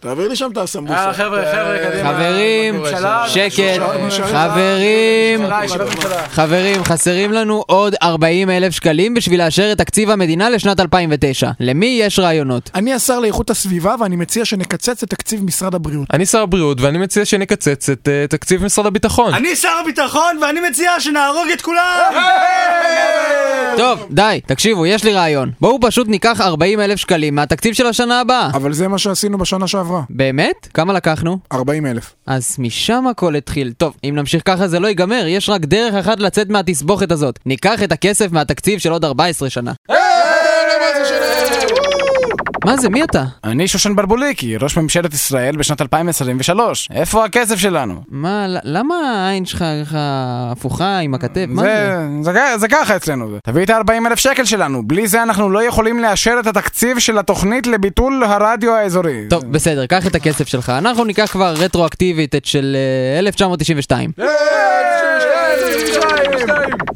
תעביר לי שם את הסמבוסה. אה, יאללה, אה, חבר'ה, חבר'ה, אה, קדימה. חברים, מה קורה שם? שקט, שלושה- חברים, ממשלה, ישיבת ממשלה. חברים, חסרים לנו עוד 40 אלף שקלים בשביל לאשר את תקציב המדינה לשנת 2009. למי יש רעיונות? אני השר לאיכות הסביבה, ואני מציע שנקצץ את תקציב משרד הבריאות. אני שר הבריאות ואני מציע שנקצץ את אה, תקציב משרד הביטחון. אני שר הביטחון ואני מציע שנהרוג את כולם! טוב, די, תקשיבו, יש לי רעיון. בואו פשוט ניקח 40 אלף שקלים מהתקציב של השנה הבאה. אבל זה מה שעשינו בשנה שעברה, באמת? כמה לקחנו? 40 אלף. אז משם הכל התחיל. טוב, אם נמשיך ככה זה לא ייגמר, יש רק דרך אחת לצאת מהתסבוכת הזאת. ניקח את הכסף מהתקציב של עוד 14 שנה. מה זה, מי אתה? אני שושן ברבוליקי, ראש ממשלת ישראל בשנת 2023. איפה הכסף שלנו? מה, ל- למה העין שלך ככה הפוכה עם הכתף? מה זה? זה, זה, כ- זה ככה אצלנו. זה. תביא את ה-40 אלף שקל שלנו, בלי זה אנחנו לא יכולים לאשר את התקציב של התוכנית לביטול הרדיו האזורי. טוב, בסדר, קח את הכסף שלך. אנחנו ניקח כבר רטרואקטיבית את של אה, 1992.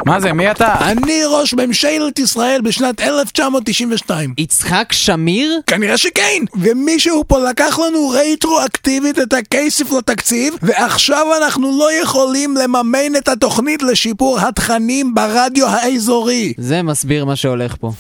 מה זה, מי אתה? אני ראש ממשלת ישראל בשנת 1992. יצחק שמיר? כנראה שכן! ומישהו פה לקח לנו רטרואקטיבית את הכסף לתקציב, ועכשיו אנחנו לא יכולים לממן את התוכנית לשיפור התכנים ברדיו האזורי. זה מסביר מה שהולך פה.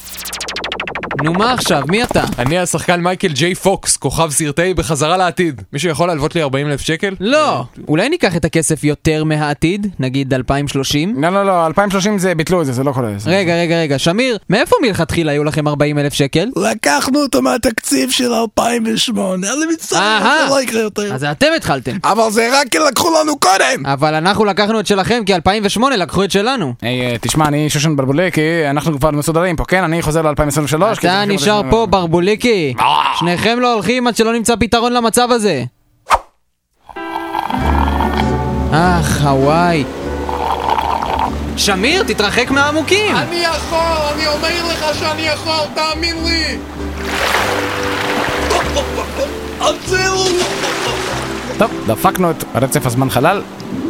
נו, מה עכשיו? מי אתה? אני השחקן מייקל ג'יי פוקס, כוכב סרטי בחזרה לעתיד. מישהו יכול להלוות לי 40 אלף שקל? לא! אולי ניקח את הכסף יותר מהעתיד? נגיד 2030? לא, לא, לא, 2030 זה ביטלו את זה, זה לא קורה. זה- רגע, רגע, רגע, שמיר, מאיפה מלכתחילה היו לכם 40 אלף שקל? לקחנו אותו מהתקציב של 2008, אני מצטער, אהה. זה לא יקרה יותר. אז אתם התחלתם. אבל זה רק כי לקחו לנו קודם! אבל אנחנו לקחנו את שלכם, כי 2008 לקחו את שלנו. היי, אה, תשמע, אני שושן ברבוליקי, אנחנו כבר מסודרים פה, כן? אני חוזר ל-2023. אתה נשאר פה, ברבוליקי. שניכם לא הולכים עד שלא נמצא פתרון למצב הזה. אה, הוואי. שמיר, תתרחק מהעמוקים! אני יכול, אני אומר לך שאני יכול, תאמין לי! טוב, דפקנו את רצף הזמן חלל,